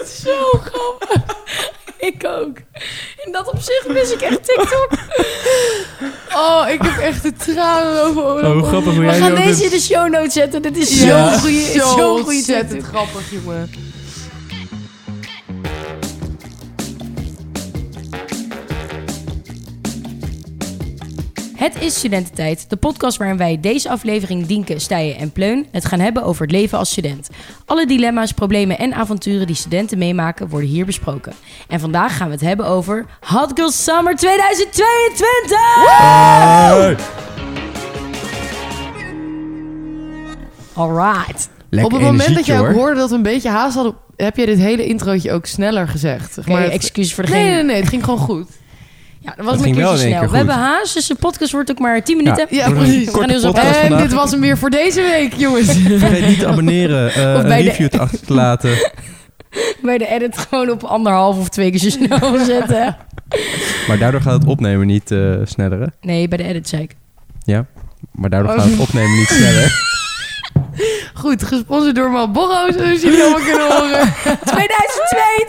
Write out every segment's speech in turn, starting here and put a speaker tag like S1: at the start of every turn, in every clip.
S1: echt zo grappig. Ik ook. In dat opzicht mis ik echt TikTok. Oh, ik heb echt de tranen over
S2: Oh, hoe
S1: oorlog.
S2: grappig hoe
S1: We
S2: jij
S1: gaan
S2: nu ook
S1: deze in
S2: dit-
S1: de show notes zetten. Dit is
S2: Ja.
S1: zo'n goede
S3: Zo
S1: zo
S3: ontzettend
S1: TikTok.
S3: grappig, jongen.
S1: Het is Studententijd, de podcast waarin wij deze aflevering Dienke, Stijen en Pleun het gaan hebben over het leven als student. Alle dilemma's, problemen en avonturen die studenten meemaken worden hier besproken. En vandaag gaan we het hebben over Hot Girl Summer 2022!
S2: Hey!
S1: Alright.
S2: Lekker
S3: Op het moment dat
S2: energietje,
S3: jij ook
S2: hoor.
S3: hoorde dat we een beetje haast hadden, heb jij dit hele introotje ook sneller gezegd. Zeg
S1: Oké,
S3: maar het-
S1: excuus voor
S3: nee,
S1: degene...
S3: nee, nee, het ging gewoon goed.
S1: Ja, dat was
S2: Dat
S1: een
S2: ging wel
S1: keertje
S2: in één
S1: snel.
S2: keer
S1: we
S2: goed.
S1: hebben haast, dus de podcast wordt ook maar 10 minuten.
S3: Ja,
S2: Wordt een
S3: precies.
S2: korte
S1: We gaan heel zo-
S2: podcast
S3: En
S2: vandaag.
S3: dit was hem weer voor deze week, jongens.
S2: Vergeet niet te abonneren, eh,
S1: Of bij
S2: een
S1: de-
S2: review te achter te laten.
S1: Bij de edit gewoon op anderhalf of twee keer zo snel zetten.
S2: Maar daardoor gaat het opnemen niet eh, sneller, hè?
S1: Nee, bij de edit zei ik.
S2: Maar daardoor
S1: Oh.
S2: gaat het opnemen niet sneller.
S3: Goed, gesponsord door Malboro, zoals jullie allemaal kunnen horen.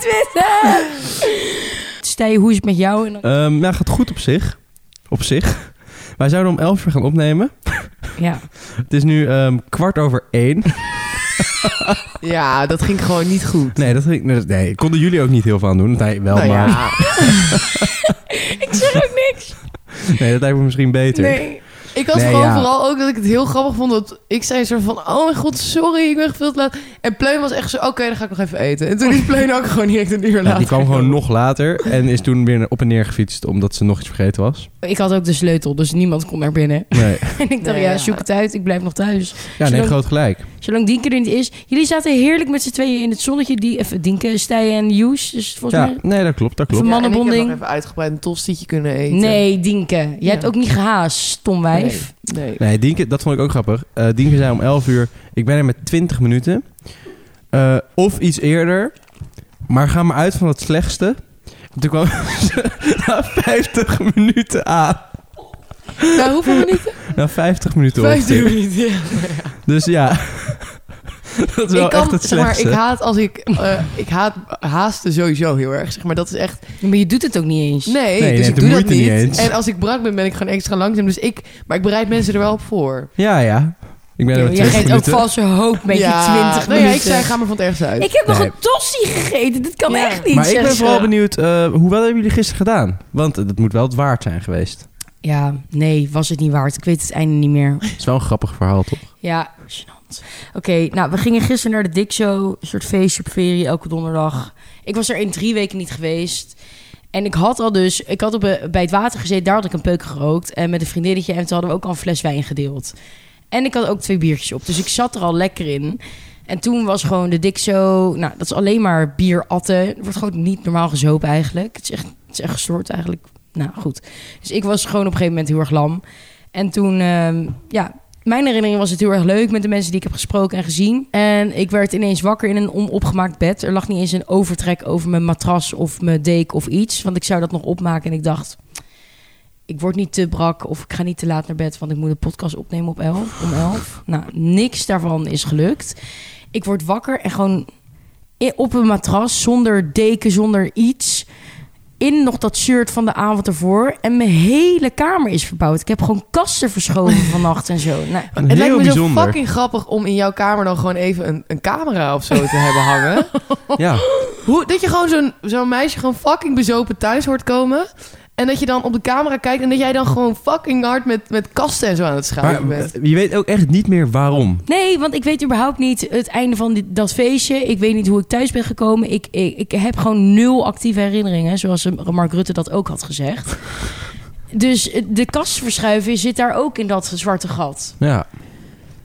S1: 2022! Stij, hoe is het met jou? En dan-
S2: Ehm nou, gaat goed op zich. Op zich. Wij zouden om 11 uur gaan opnemen.
S1: Ja.
S2: Het is nu ehm, kwart over één.
S3: Ja, dat ging gewoon niet goed.
S2: Nee, dat ging- nee, dat- nee, konden jullie ook niet heel veel aan doen. Dat hij wel,
S3: nou ja,
S2: maar
S1: Ik zeg ook niks.
S2: nee, dat lijkt me misschien beter.
S1: Nee.
S3: ik had
S2: Nee,
S3: gewoon
S2: ja.
S3: vooral ook dat ik het heel grappig vond. Dat ik zei een soort van, oh mijn god, sorry, ik ben veel te laat. En Pleun was echt zo, oké, dan ga ik nog even eten. En toen is Pleun ook gewoon direct een uur
S2: Ja,
S3: later.
S2: Nou, die kwam gewoon nog later en is toen weer op en neer gefietst omdat ze nog iets vergeten was.
S1: Ik had ook de sleutel, dus niemand kon naar binnen.
S2: Nee,
S1: En ik dacht,
S3: Nee,
S1: ja,
S3: ja.
S1: zoek het uit. Ik blijf nog thuis.
S2: ja, nee
S1: Zolang-
S2: groot gelijk.
S1: Zolang Dienke er niet is. Jullie zaten heerlijk met z'n tweeën in het zonnetje. Die, even Dienke, Stij en Joes. Dus volgens
S2: Ja,
S1: mij...
S2: nee, dat klopt, dat klopt.
S1: Van-
S3: Ja, en ik heb
S1: mannenbonding.
S3: nog even uitgebreid een tostietje kunnen eten.
S1: Nee, Dienke. Jij
S3: Ja.
S1: hebt ook niet gehaast, stom wijf.
S3: Nee. nee.
S2: Nee, Dienke, dat vond ik ook grappig. Eh Dienke zei om 11 uur, ik ben er met 20 minuten. Eh, of iets eerder, maar ga maar uit van het slechtste. En toen kwam ze na 50 minuten aan.
S3: Nou, hoeveel minuten?
S2: Na 50 minuten
S3: Vijftien
S2: ongeveer.
S3: minuten. ja.
S2: Dus ja, dat is wel
S3: ik kan,
S2: echt het
S3: zeg maar,
S2: slechtste.
S3: ik haat als ik... eh, ik haat haasten sowieso heel erg, zeg maar. Dat is echt...
S1: Maar je doet het ook niet eens.
S3: Nee,
S2: Nee, je
S3: dus
S2: neemt
S3: ik
S2: de
S3: doe dat
S2: moeite
S3: niet.
S2: niet eens.
S3: En als ik brak ben, ben ik gewoon extra langzaam. Dus ik, maar ik bereid mensen er wel op voor.
S2: Ja, ja. Ik ben er
S1: Jij
S2: met 20
S1: geeft ook
S2: minuten.
S1: valse hoop met je 20
S3: nou
S1: minuten.
S3: ja, ik zei, ga maar van het ergste uit.
S1: Ik heb nog
S2: Nee.
S1: een tossie gegeten. Dit kan
S3: Ja.
S1: echt niet.
S2: Maar ik
S1: zegt
S2: ben
S1: ze.
S2: vooral benieuwd, eh hoewel hebben jullie gisteren gedaan? Want het moet wel het waard zijn geweest.
S1: Ja, nee, was het niet waard. Ik weet het einde niet meer.
S2: Het is wel een grappig verhaal, toch?
S1: Ja, gênant. Oké, nou, we gingen gisteren naar de Dick Show. Een soort feestje op ferie, elke donderdag. Ik was er in drie weken niet geweest. En ik had al dus... Ik had op, een- bij het water gezeten, daar had ik een peuk gerookt. En met een vriendinnetje. En toen hadden we ook al een fles wijn gedeeld. En ik had ook twee biertjes op. Dus ik zat er al lekker in. En toen was gewoon de Dick Show... Nou, dat is alleen maar bier atten. Er wordt gewoon niet normaal gezopen eigenlijk. Het is echt, het is echt gestoord eigenlijk. Nou, goed. Dus ik was gewoon op een gegeven moment heel erg lam. En toen, ehm, ja, mijn herinnering was het heel erg leuk met de mensen die ik heb gesproken en gezien. En ik werd ineens wakker in een onopgemaakt bed. Er lag niet eens een overtrek over mijn matras of mijn deken of iets. Want ik zou dat nog opmaken en ik dacht... Ik word niet te brak of ik ga niet te laat naar bed... want ik moet de podcast opnemen op 11, om 11. Nou, niks daarvan is gelukt. Ik word wakker en gewoon i- op een matras... zonder deken, zonder iets... in nog dat shirt van de avond ervoor... en mijn hele kamer is verbouwd. Ik heb gewoon kasten verschoven vannacht en zo. Nou,
S2: Heel
S3: het lijkt me
S2: bijzonder.
S3: zo fucking grappig om in jouw kamer dan gewoon even een, een camera of zo te hebben hangen.
S2: Ja,
S3: Hoe, dat je gewoon zo'n zo'n meisje gewoon fucking bezopen thuis hoort komen. En dat je dan op de camera kijkt en dat jij dan gewoon fucking hard met, met kasten en zo aan het
S2: maar
S3: schuiven bent.
S2: eh, je weet ook echt niet meer waarom.
S1: Nee, want ik weet überhaupt niet het einde van dit, dat feestje. Ik weet niet hoe ik thuis ben gekomen. Ik, ik, ik heb gewoon nul actieve herinneringen, zoals Mark Rutte dat ook had gezegd. Dus eh, de kast verschuiven zit daar ook in dat zwarte gat.
S2: Ja,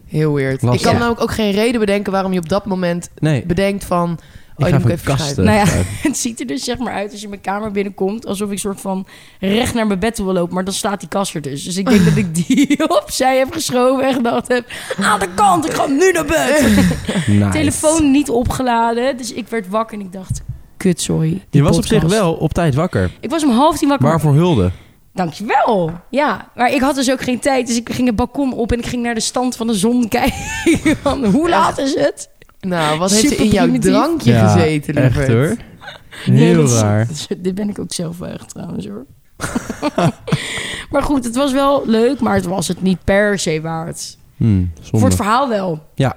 S3: Heel weird.
S2: Lastig.
S3: Ik kan
S2: Ja.
S3: namelijk ook geen reden bedenken waarom je op dat moment
S2: nee.
S3: bedenkt van...
S2: Ik
S3: Oh,
S2: ga
S3: je moet
S2: even
S3: ik even
S2: kasten.
S3: schrijven.
S1: Nou ja.
S2: schuiven.
S1: Het ziet er dus zeg maar uit als je mijn kamer binnenkomt... alsof ik soort van recht naar mijn bed toe wil lopen. Maar dan staat die kast er dus. Dus ik denk dat ik die opzij heb geschoven en gedacht heb... aan de kant, ik ga nu naar bed.
S2: Eh, Nice.
S1: Telefoon niet opgeladen. Dus sorry. ik werd wakker en ik dacht... Kut, sorry.
S2: Je was op zich wel op tijd wakker.
S1: Ik was om half tien wakker.
S2: Waarvoor hulde?
S1: Dankjewel. Ja, maar ik had dus ook geen tijd. Dus ik ging het balkon op en ik ging naar de stand van de zon kijken. Van, Hoe laat is het?
S3: Nou, wat heeft er in jouw
S1: Superprimitief.
S3: drankje
S2: Ja,
S3: gezeten, lieverd?
S2: Echt hoor.
S1: Nee,
S2: Heel
S1: dat is-
S2: raar.
S1: Dit ben ik ook zelf wel echt trouwens hoor. maar goed, het was wel leuk, maar het was het niet per se waard.
S2: Hm,
S1: Voor
S2: zonde.
S1: het verhaal wel.
S2: Ja.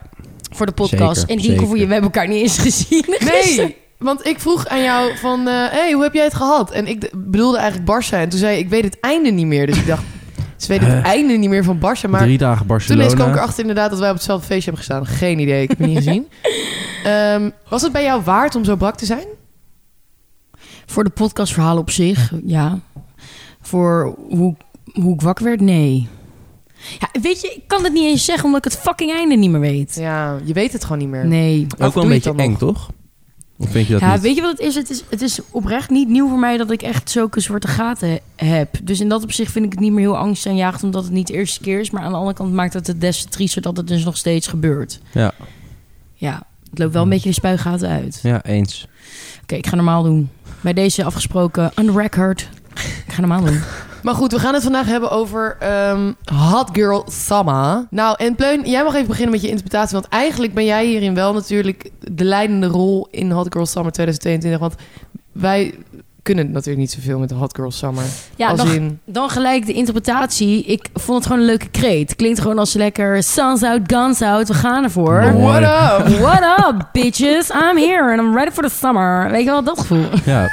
S1: Voor de podcast.
S2: Zeker,
S1: en die voor
S2: zeker.
S1: je, we hebben elkaar niet eens gezien. gisteren.
S3: Nee, want ik vroeg aan jou van... eh hey, hoe heb jij het gehad? En ik d- bedoelde eigenlijk Barça. En toen zei je, ik weet het einde niet meer. Dus ik dacht, ze weet het
S2: Eh.
S3: einde niet meer van Barça. Maar
S2: Drie dagen
S3: toen
S2: Barcelona.
S3: eens kwam ik erachter inderdaad dat wij op hetzelfde feestje hebben gestaan. Geen idee, ik heb het niet gezien. Ehm, was het bij jou waard om zo brak te zijn?
S1: Voor de podcastverhalen op zich, ja. Voor hoe, hoe ik wakker werd, nee. Ja, weet je, ik kan het niet eens zeggen omdat ik het fucking einde niet meer weet.
S3: Ja, je weet het gewoon niet meer.
S1: Nee.
S2: Ook
S3: Of
S2: wel een
S3: doe je het
S2: beetje
S3: dan
S2: eng, toch? Of vind je dat
S1: Ja,
S2: niet?
S1: weet je wat het is? Het, is? het is oprecht niet nieuw voor mij dat ik echt zulke zwarte gaten he- heb. Dus in dat opzicht vind ik het niet meer heel angstaanjagend omdat het niet de eerste keer is. Maar aan de andere kant maakt het het des te triester dat het dus nog steeds gebeurt.
S2: Ja.
S1: Ja, het loopt wel een beetje de spuigaten uit.
S2: Ja, eens.
S1: Oké, ik ga normaal doen. Bij deze afgesproken, on record. Ik ga normaal doen.
S3: Maar goed, we gaan het vandaag hebben over ehm, Hot Girl Sama. Nou, en Pleun, jij mag even beginnen met je interpretatie. Want eigenlijk ben jij hierin wel natuurlijk de leidende rol in Hot Girl Summer 2022. Want wij kunnen natuurlijk niet zoveel met de Hot Girl Summer.
S1: Ja,
S3: Als
S1: dan,
S3: in,
S1: dan gelijk de interpretatie. Ik vond het gewoon een leuke kreet. Klinkt gewoon als lekker suns out, guns out. We gaan ervoor.
S2: Mooi.
S3: what up?
S1: What up, bitches? I'm here and I'm ready for the summer. Weet je wel, dat gevoel.
S2: Ja,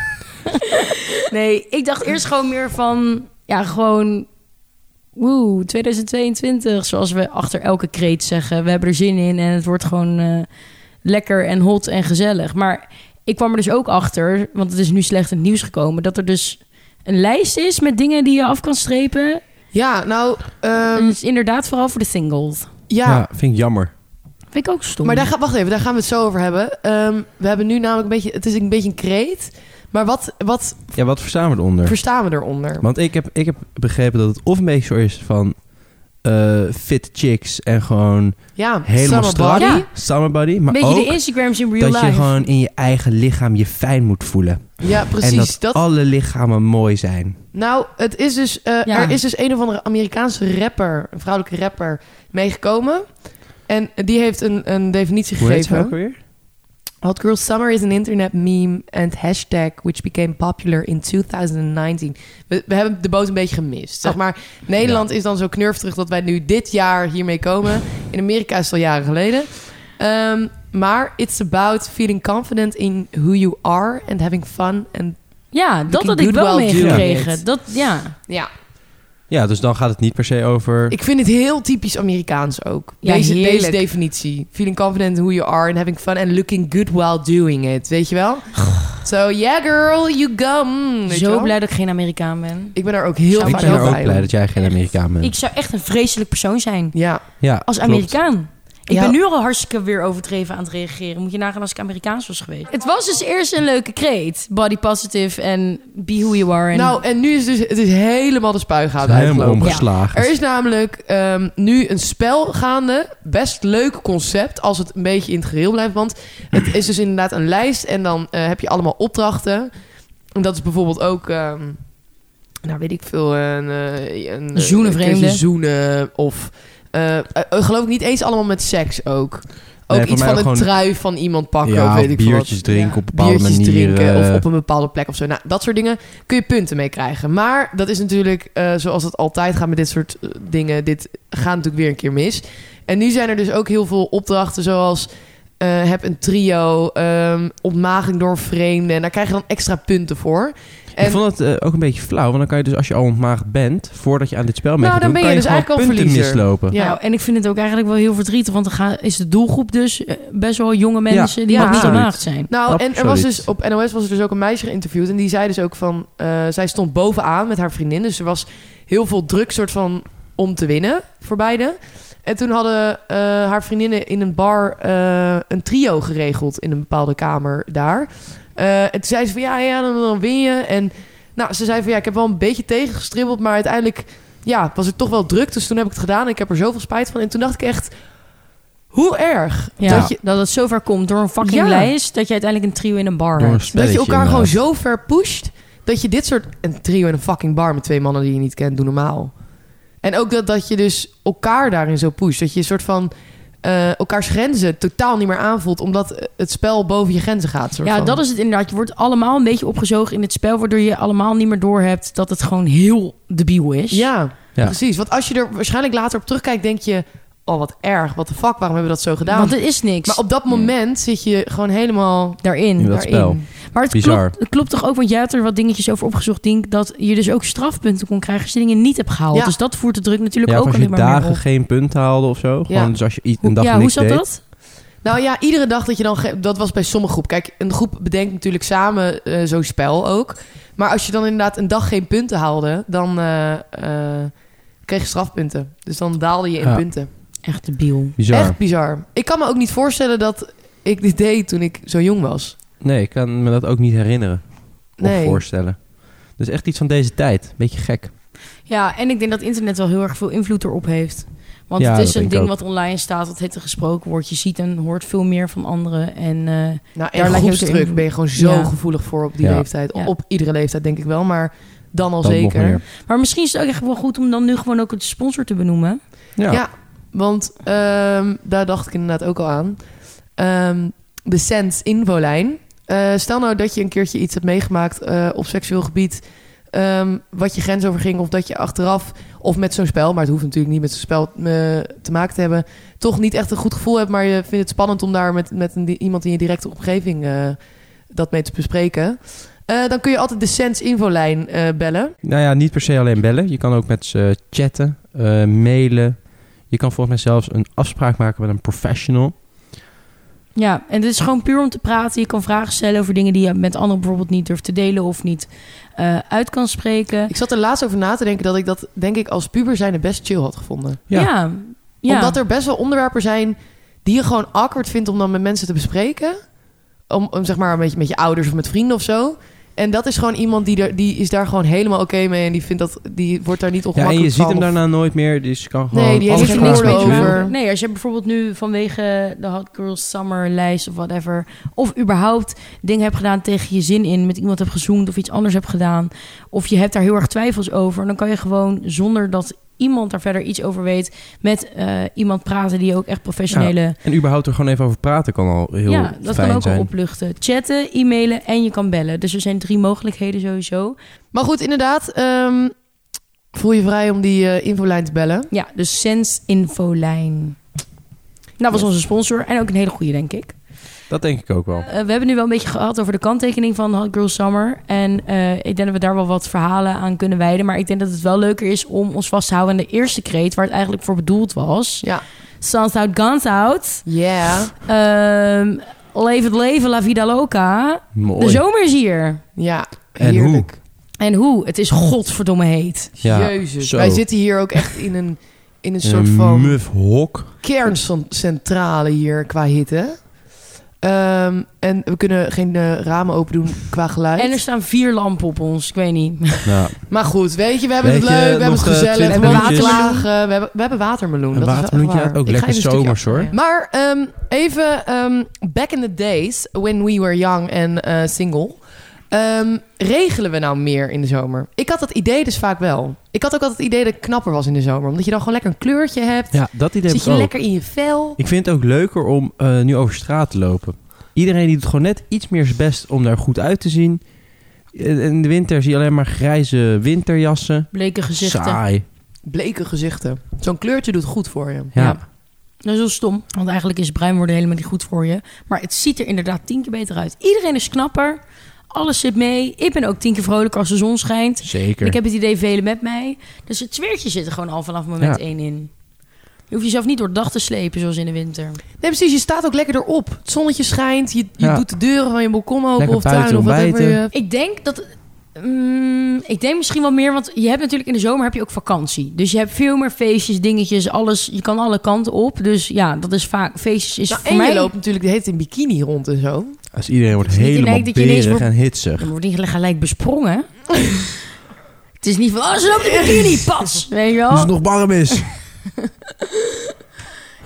S1: Nee, ik dacht eerst gewoon meer van... Ja, gewoon... Woe, 2022. Zoals we achter elke kreet zeggen. We hebben er zin in en het wordt gewoon eh, lekker en hot en gezellig. Maar ik kwam er dus ook achter, want het is nu slecht in het nieuws gekomen... dat er dus een lijst is met dingen die je af kan strepen.
S3: Ja, nou,
S1: en
S3: ehm,
S1: dat is inderdaad vooral voor de singles.
S3: ja.
S2: ja, vind ik jammer.
S1: Vind ik ook stom.
S3: Maar daar gaat, wacht even, daar gaan we het zo over hebben. Ehm, we hebben nu namelijk een beetje, het is een beetje een kreet. Maar wat, wat
S2: Ja, wat verstaan we eronder?
S3: verstaan we eronder?
S2: Want ik heb, ik heb begrepen dat het of een beetje zo is van eh, fit chicks en gewoon
S3: Ja,
S2: helemaal
S3: summer
S2: strak.
S3: body.
S1: Ja.
S2: summer body. Maar
S1: Beetje
S2: ook
S1: de Instagrams in real
S2: dat je
S1: life.
S2: gewoon in je eigen lichaam je fijn moet voelen.
S3: Ja, precies.
S2: en dat,
S3: dat
S2: alle lichamen mooi zijn.
S3: Nou, het is dus, eh,
S1: Ja.
S3: er is dus een of andere Amerikaanse rapper, een vrouwelijke rapper, meegekomen. En die heeft een, een definitie
S2: Hoe heet ze
S3: gegeven.
S2: ook weer?
S3: Hot Girl Summer is an internet meme and hashtag which became popular in 2019. We, we hebben de boot een beetje gemist. Zeg maar, Nederland is dan zo knurfterig dat wij nu dit jaar hiermee komen. In Amerika is het al jaren geleden. Ehm, maar it's about feeling confident in who you are and having fun. And,
S1: Ja, dat had
S3: Looking
S1: ik
S3: good
S1: wel
S3: while doing
S1: meegekregen.
S3: it.
S1: Dat, ja.
S3: ja,
S2: Ja, dus dan gaat het niet per se over...
S3: Ik vind het heel typisch Amerikaans ook.
S1: Ja,
S3: deze,
S1: heerlijk.
S3: deze definitie. Feeling confident in who you are and having fun and looking good while doing it. Weet je wel? So yeah girl, you go. Mm, weet je
S1: Zo
S3: wel?
S1: blij dat ik geen Amerikaan ben.
S3: Ik ben er ook heel
S1: Ik
S3: vaak
S2: Ik
S1: maar
S2: ben
S3: heel
S2: er ook
S3: blij
S2: blij
S3: om.
S2: dat jij geen Amerikaan bent.
S1: Ik zou echt een vreselijk persoon zijn.
S3: Ja,
S2: ja,
S1: Als
S2: klopt.
S1: Amerikaan. Ik
S3: Ja.
S1: ben nu al hartstikke weer overdreven aan het reageren. Moet je nagaan als ik Amerikaans was geweest. Het was dus eerst een leuke kreet. Body positive en be who you are. En
S3: nou en nu is dus, het is helemaal de
S2: Het
S3: spuigaat
S2: is Helemaal
S3: uitgelopen.
S2: omgeslagen.
S3: Er is namelijk ehm, nu een spel gaande. Best leuk concept als het een beetje in het geheel blijft. Want het is dus inderdaad een lijst en dan eh, heb je allemaal opdrachten. En dat is bijvoorbeeld ook, ehm, nou weet ik veel, een, eh, een eh,
S1: Zoenen
S3: een keertje
S1: vreemden.
S3: zoenen of eh, eh, geloof ik niet eens allemaal met seks ook. Ook
S2: Nee, voor
S3: iets
S2: mij
S3: van een
S2: gewoon-
S3: trui van iemand pakken
S2: ja,
S3: of weet ik veel wat
S2: biertjes drinken
S1: Ja.
S2: op bepaalde eh.
S3: biertjes
S2: manieren.
S3: drinken of op een bepaalde plek of zo. Nou, dat soort dingen kun je punten mee krijgen. Maar dat is natuurlijk, eh, zoals het altijd gaat met dit soort eh, dingen, dit gaat natuurlijk weer een keer mis. En nu zijn er dus ook heel veel opdrachten zoals eh, heb een trio, ehm ontmaging door een vreemde. En daar krijg je dan extra punten voor. En
S2: Ik vond het eh, ook een beetje flauw, want dan kan je dus als je al ontmaagd bent, voordat je aan dit spel
S3: Nou,
S2: meedoet,
S3: dan ben
S2: kan
S3: je
S2: je
S3: dus
S2: gewoon
S3: eigenlijk al
S2: punten
S3: verliezer.
S2: mislopen.
S3: ja.
S1: Nou, en ik vind het ook eigenlijk wel heel verdrietig. Want dan gaan, is de doelgroep dus eh, best wel jonge mensen die
S3: ja,
S1: nog niet
S2: absoluut.
S1: ontmaagd zijn.
S3: Nou, en er was
S2: Absoluut.
S3: dus op NOS was er dus ook een meisje geïnterviewd. En die zei dus ook van. eh, zij stond bovenaan met haar vriendin. Dus er was heel veel druk, soort van om te winnen voor beide. En toen hadden eh, haar vriendinnen in een bar eh, een trio geregeld in een bepaalde kamer daar. Eh, en toen zei ze van ja, ja dan, dan win je. En nou, ze zei van ja, ik heb wel een beetje tegengestribbeld. Maar uiteindelijk ja, was het toch wel druk. Dus toen heb ik het gedaan. En ik heb er zoveel spijt van. En toen dacht ik echt, hoe erg
S1: Ja,
S3: dat
S1: dat,
S3: je-
S1: het zover komt door een fucking
S3: Ja.
S1: lijst... dat je uiteindelijk een trio in een bar
S2: Door een
S1: hebt.
S2: spelletje eh,
S3: dat je elkaar gewoon
S2: inderdaad.
S3: zo ver pusht. Dat je dit soort. Een trio in een fucking bar met twee mannen die je niet kent, doe normaal. En ook dat, dat je dus elkaar daarin zo pusht. Dat je een soort van. eh, elkaars grenzen totaal niet meer aanvoelt. Omdat eh, het spel boven je grenzen gaat. Soort
S1: Ja,
S3: van.
S1: dat is het inderdaad. Je wordt allemaal een beetje opgezogen in het spel, waardoor je allemaal niet meer doorhebt dat het gewoon heel debiel is.
S3: Ja,
S2: Ja.
S3: precies. Want als je er waarschijnlijk later op terugkijkt, denk je... Oh, wat erg. Wat de fuck, waarom hebben we dat zo gedaan?
S1: Want het is niks
S3: Maar op dat moment zit je gewoon helemaal...
S1: daarin.
S2: In dat
S1: daarin.
S2: spel.
S1: Maar het
S2: Bizar.
S1: klopt, het klopt toch ook, want jij had er wat dingetjes over opgezocht, Dink, dat je dus ook strafpunten kon krijgen als je dingen niet hebt gehaald.
S3: Ja.
S1: Dus dat voert de druk natuurlijk
S2: Ja, of
S1: ook
S2: als je
S1: alleen maar meer
S2: dagen
S1: op.
S2: geen punt haalde of zo.
S3: Ja.
S2: Gewoon dus als je i- een
S1: Hoe-
S2: dag
S1: ja, hoe
S2: niks
S1: zat
S2: deed.
S1: dat?
S3: Nou ja, iedere dag dat je dan... ge- Dat was bij sommige groep. Kijk, een groep bedenkt natuurlijk samen eh, zo'n spel ook. Maar als je dan inderdaad een dag geen punten haalde... dan eh, eh, kreeg je strafpunten. Dus dan daalde je in
S2: Ja.
S3: punten.
S1: Echt debiel.
S2: Bizar.
S3: Echt bizar. Ik kan me ook niet voorstellen dat ik dit deed toen ik zo jong was.
S2: Nee, ik kan me dat ook niet herinneren. Of
S3: Nee.
S2: voorstellen. Dus echt iets van deze tijd. Beetje gek.
S1: Ja, en ik denk dat internet wel heel erg veel invloed erop heeft. Want
S2: Ja,
S1: het is
S2: dat
S1: een
S2: denk ik
S1: ding
S2: ook.
S1: wat online staat, wat het gesproken wordt. Je ziet en hoort veel meer van anderen. En eh,
S3: Nou,
S1: Daar
S3: en
S1: lijkt je ook de
S3: groepsdruk
S1: invloed-
S3: ben je gewoon zo
S1: Ja.
S3: gevoelig voor op die
S2: Ja.
S3: leeftijd.
S1: Ja.
S3: Op iedere leeftijd denk ik wel, maar dan al
S2: Dat nog
S3: zeker.
S2: meer.
S1: Maar misschien is het ook echt wel goed om dan nu gewoon ook het sponsor te benoemen.
S2: Ja.
S3: Ja. Want ehm, daar dacht ik inderdaad ook al aan. Ehm, de Sense infolijn. Eh, stel nou dat je een keertje iets hebt meegemaakt eh, op seksueel gebied... ehm, wat je grens overging of dat je achteraf... of met zo'n spel, maar het hoeft natuurlijk niet met zo'n spel eh, te maken te hebben... toch niet echt een goed gevoel hebt... maar je vindt het spannend om daar met, met een, di- iemand in je directe omgeving... eh, dat mee te bespreken... Eh, dan kun je altijd de Sense infolijn eh, bellen.
S2: Nou ja, niet per se alleen bellen. Je kan ook met ze chatten, eh, mailen. Je kan volgens mij zelfs een afspraak maken met een professional.
S1: Ja, en dit is gewoon puur om te praten. Je kan vragen stellen over dingen die je met anderen bijvoorbeeld niet durft te delen of niet eh, uit kan spreken.
S3: Ik zat er laatst over na te denken dat ik dat denk ik als puber zijn het best chill had gevonden.
S2: Ja.
S1: Ja, ja.
S3: Omdat er best wel onderwerpen zijn die je gewoon awkward vindt om dan met mensen te bespreken. Om, om zeg maar een beetje met je ouders of met vrienden of zo. En dat is gewoon iemand die, er, die is daar gewoon helemaal oké mee. En die, vindt dat, die wordt daar niet
S2: Ja, en
S3: ongemakkelijk
S2: je ziet
S3: van
S2: hem
S3: of-
S2: daarna nooit meer. Dus je kan gewoon
S3: Nee, die heeft
S2: alles
S1: er
S3: geen
S2: vragen.
S1: niks
S3: woorden
S1: mee te maken.
S3: over.
S1: Nee, als je bijvoorbeeld nu vanwege de Hot Girls Summer lijst of whatever... of überhaupt dingen hebt gedaan tegen je zin in... met iemand hebt gezoend of iets anders hebt gedaan... of je hebt daar heel erg twijfels over... dan kan je gewoon zonder dat iemand daar verder iets over weet... met eh, iemand praten die ook echt professionele...
S2: En überhaupt er gewoon even over praten kan al heel
S1: ja, dat
S2: fijn
S1: kan ook al
S2: zijn.
S1: opluchten. Chatten, e-mailen en je kan bellen. Dus er zijn drie mogelijkheden sowieso.
S3: Maar goed, inderdaad. ehm, voel je vrij om die eh, infolijn te bellen.
S1: Ja, dus Sense Infolijn. Dat was
S3: Yes.
S1: onze sponsor en ook een hele goede, denk ik.
S2: Dat denk ik ook wel.
S1: Eh, we hebben nu wel een beetje gehad over de kanttekening van Hot Girl Summer. En eh, ik denk dat we daar wel wat verhalen aan kunnen wijden. Maar ik denk dat het wel leuker is om ons vast te houden aan de eerste kreet... waar het eigenlijk voor bedoeld was.
S3: Ja.
S1: Suns out, guns out.
S3: Yeah.
S1: Ehm, leef het leven, la vida loca.
S2: Mooi.
S1: De zomer is hier.
S3: Ja,
S2: En hoe?
S3: heerlijk.
S1: En hoe? Het is godverdomme heet.
S2: Ja,
S3: Jezus.
S2: zo.
S3: Wij zitten hier ook echt in een, in een
S2: Een
S3: soort van...
S2: muf hok.
S3: kerncentrale hier qua hitte. Ehm, en we kunnen geen eh, ramen open doen qua geluid.
S1: En er staan vier lampen op ons. Ik weet niet.
S2: Nou,
S3: Maar goed, weet je, we hebben
S2: Weet
S3: het
S2: je,
S3: leuk, we hebben
S2: nog,
S3: het
S2: eh,
S3: gezellig. We
S1: 20
S3: hebben
S1: minuutjes.
S3: watermeloen. We hebben, we hebben watermeloen.
S2: een
S3: dat is
S2: watermeloentje
S3: echt waar.
S2: ook
S3: Ik ga
S2: lekker
S3: even een stukje
S2: zomers hoor.
S1: afmaken.
S3: Maar ehm, even ehm, back in the days, when we were young and eh, single, ehm, regelen we nou meer in de zomer? Ik had dat idee dus vaak wel. Ik had ook altijd het idee dat het knapper was in de zomer, omdat je dan gewoon lekker een kleurtje hebt.
S2: Ja, dat idee heb
S3: Zit
S2: ik
S3: je
S2: ook.
S3: lekker in je vel?
S2: Ik vind het ook leuker om eh, nu over straat te lopen. Iedereen die doet gewoon net iets meer zijn best om daar goed uit te zien. In in de winter zie je alleen maar grijze winterjassen.
S1: Bleke gezichten.
S2: Saai.
S3: Bleke gezichten. Zo'n kleurtje doet goed voor je.
S2: Ja.
S1: Dat is heel stom. Want eigenlijk is bruin worden helemaal niet goed voor je. Maar het ziet er inderdaad tien keer beter uit. Iedereen is knapper. Alles zit mee. Ik ben ook tien keer vrolijker als de zon schijnt.
S2: Zeker.
S1: Ik heb het idee velen met mij. Dus het zweertje zit er gewoon al vanaf moment
S2: Ja.
S1: één in. Je hoeft jezelf niet door de dag te slepen zoals in de winter.
S3: Nee, precies. Je staat ook lekker erop. Het zonnetje schijnt. Je, je
S2: Ja.
S3: doet de deuren van je balkon open
S2: Lekker
S3: of tuin
S2: buiten
S3: of eh, whatever.
S2: ontbijten.
S3: je-
S1: Ik denk dat. mm, ik denk misschien wel meer, want je hebt natuurlijk in de zomer heb je ook vakantie. Dus je hebt veel meer feestjes, dingetjes, alles. Je kan alle kanten op. Dus ja, dat is vaak. Feestjes is
S3: Nou,
S1: voor
S3: en
S1: mij.
S3: je loopt natuurlijk de hele tijd in bikini rond en zo.
S2: Als iedereen wordt
S1: Het is niet
S2: helemaal
S1: gelijk dat je ineens
S2: berig
S1: wordt-
S2: en hitsig.
S1: Dan wordt niet gelijk besprongen. het is niet van, oh, ze loopt in bikini, pas. Weet je
S2: Als
S1: wel?
S3: Dus
S2: het nog warm is.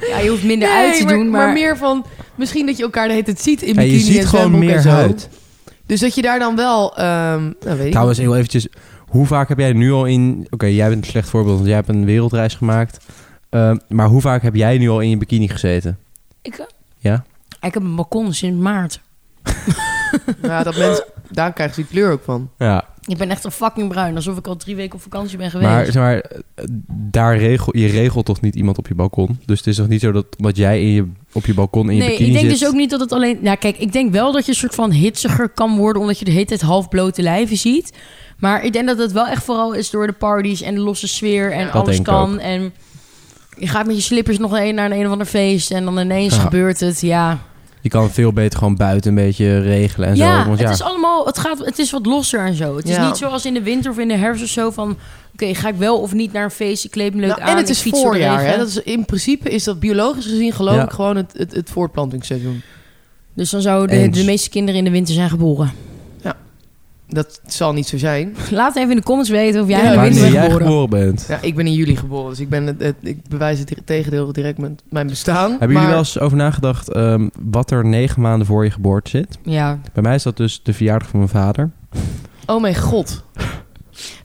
S1: Ja, je hoeft minder uit te doen, maar...
S3: meer van... Misschien dat je elkaar de hele tijd ziet in
S2: En
S3: bikini
S2: je ziet
S3: en
S2: gewoon
S3: zwembroek en
S2: meer
S3: zo.
S2: huid.
S3: Dus dat je daar dan wel... ehm nou, weet ik
S2: Trouwens, heel eventjes. Hoe vaak heb jij nu al in... Oké, jij bent een slecht voorbeeld, want jij hebt een wereldreis gemaakt. Eh, Ehm, maar hoe vaak heb jij nu al in je bikini gezeten?
S1: Ik,
S2: Ja?
S1: ik heb een balkon sinds maart.
S3: Ja, dat mensen, daar krijgen ze die kleur ook van.
S2: Ja,
S1: Ik ben echt een fucking bruin. Alsof ik al drie weken op vakantie ben geweest.
S2: maar, zeg maar eh, daar regel, je regelt toch niet iemand op je balkon? Dus het is toch niet zo dat omdat jij in je, op je balkon in je
S1: nee,
S2: bikini
S1: ik denk
S2: zit...
S1: dus ook niet dat het alleen... Nou kijk, ik denk wel dat je een soort van hitsiger kan worden... omdat je de hele tijd half blote lijven ziet. Maar ik denk dat het wel echt vooral is door de parties en de losse sfeer... en
S2: Dat
S1: alles
S2: denk ik
S1: kan. En je gaat met je slippers nog een naar een, een of ander feest... en dan ineens
S2: Ja.
S1: gebeurt het, ja.
S2: Je kan veel beter gewoon buiten een beetje regelen en
S1: ja,
S2: zo. Want
S1: het
S2: ja,
S1: is allemaal... Het, gaat, het is wat losser en zo. Het is
S3: Ja.
S1: niet zoals in de winter of in de herfst of zo van... Oké, ga ik wel of niet naar een feest? Ik kleed me leuk
S3: Nou,
S1: aan.
S3: en het
S1: ik
S3: is
S1: fiets door de
S3: voorjaar.
S1: regen.
S3: Hè? Dat is, in principe is dat biologisch gezien geloof
S2: Ja.
S3: ik gewoon het, het, het voortplantingsseizoen.
S1: Dus dan zouden
S2: Eens.
S1: de, de meeste kinderen in de winter zijn geboren.
S3: Dat zal niet zo zijn.
S1: Laat even in de comments weten of jij
S3: Ja,
S1: in de
S2: wanneer
S1: winter
S3: wanneer
S1: bent
S2: jij
S1: geboren.
S2: geboren bent.
S3: Ja, ik ben in juli geboren, dus ik, ben het, het- ik bewijs het tegendeel direct met mijn bestaan.
S2: Hebben jullie wel eens over nagedacht ehm, wat er negen maanden voor je geboorte zit?
S1: Ja.
S2: Bij mij is dat dus de verjaardag van mijn vader.
S3: Oh mijn god.